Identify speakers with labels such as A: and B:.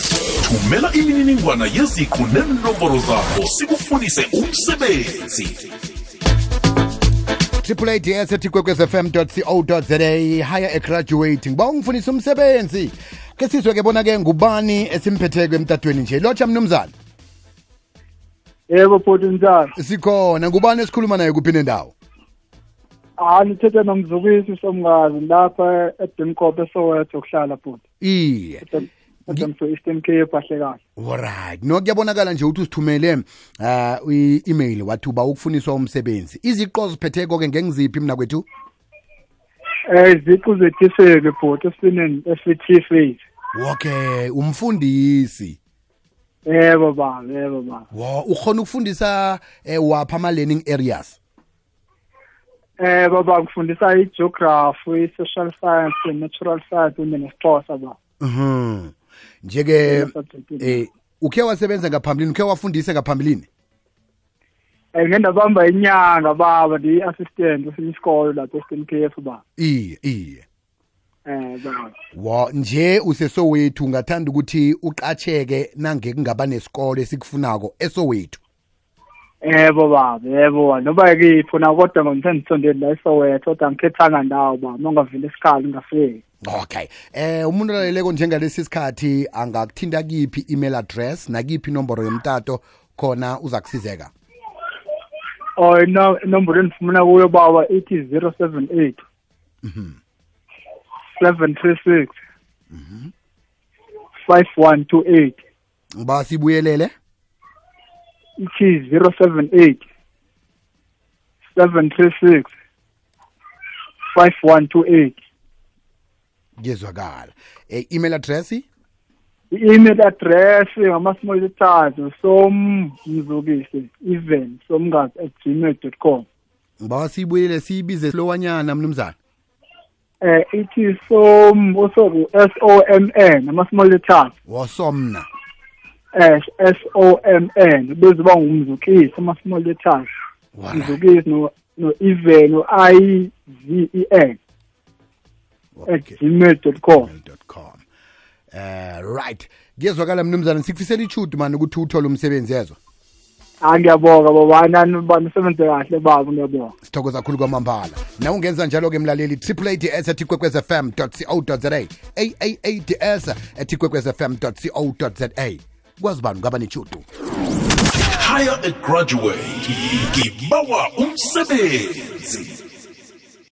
A: thumela imininingwana yeziqu nenomboro zakho sikufunise umsebenzi
B: triplads ethi kwekwezfm co za hire a graduate ngiba ungifunisa umsebenzi ke sizwe ke bona ke ngubani esimphetheko emtatweni nje lotsha mnumzana
C: yebo bhuti njani
B: sikhona ngubani esikhuluma naye kuphi nendawo
C: hayi nithethe nomzukisi somngazi lapha edimkop esowetho ukuhlala bhuti
B: iye
C: edimso-eastern cape kahle kahle
B: alright no kuyabonakala nje ukuthi usithumele uh, i-email wathi uba ukufuniswa umsebenzi iziqo ziphetheko ke ngengiziphi mina kwethu
C: um iziqu zetiseki bhuti esiningi esithi face
B: okay umfundisi
C: yebo baba yebo baba
B: wo ukhona ukufundisa eh, wapha ama-learning areas
C: um baba ngifundisa i-geography i-social science i-natural science kunye nesixhosa baba
B: Mhm. Njeke
C: Yena subject ini.
B: eh ukhe wasebenza ngaphambilini ukhe wafundisa ngaphambilini.
C: um ngendabamba inyanga baba ndiyi-assistant kwesinye isikolo lapha e-eastern cape baba
B: Iye, iye.
C: um baba
B: Wa nje usesowethu ngathanda ukuthi uqatsheke nange kungaba nesikole esikufunako esowethu.
C: Yebo baba, yebo baba. Noba kipho na kodwa ngomthanda isondele la eSoweto, kodwa ngikhethanga ndawo baba, mongavile isikhala ngafiki.
B: Okay. Eh umuntu olaleleko njengalesi sikhathi angakuthinta kipi email address nakiphi inomboro yomtato khona uzakusizeka.
C: Oh, no number enifumana kuyo baba ithi 078. Mhm. 736. Mhm. 5128.
B: Ngiba sibuyelele.
C: Ithi 078. 736. 5128.
B: Ngezwakala. Eh email address
C: i-email address ngama-small charge sommzukisi even somngazi at gmail dot com
B: ngiba sibuyelele siyibize slowanyana mnumzana.
C: um ithi som usoku s o m n ama-small charge
B: Wasomna.
C: um s o m n bezoba ngumzukisi ama-small charge
B: Alright.
C: mzukisi no- no-even no-i v e n at
B: Okay.
C: gmail dot com
B: gmail.com eh right ngiyezwakala mnumzana sikufisela ichudu mani ukuthi uthole umsebenzi yezo
C: hayi ngiyabonga babanani banisebenze kahle babo ngiyabonga
B: sithokoza kakhulu kwamambala nawe ungenza njalo-ke mlaleli triple ads at ikwekwez fm co za aaads at ikwekwez fm co za kwazi bani ngaba nechudu
A: hire a graduate ngibawa umsebenzi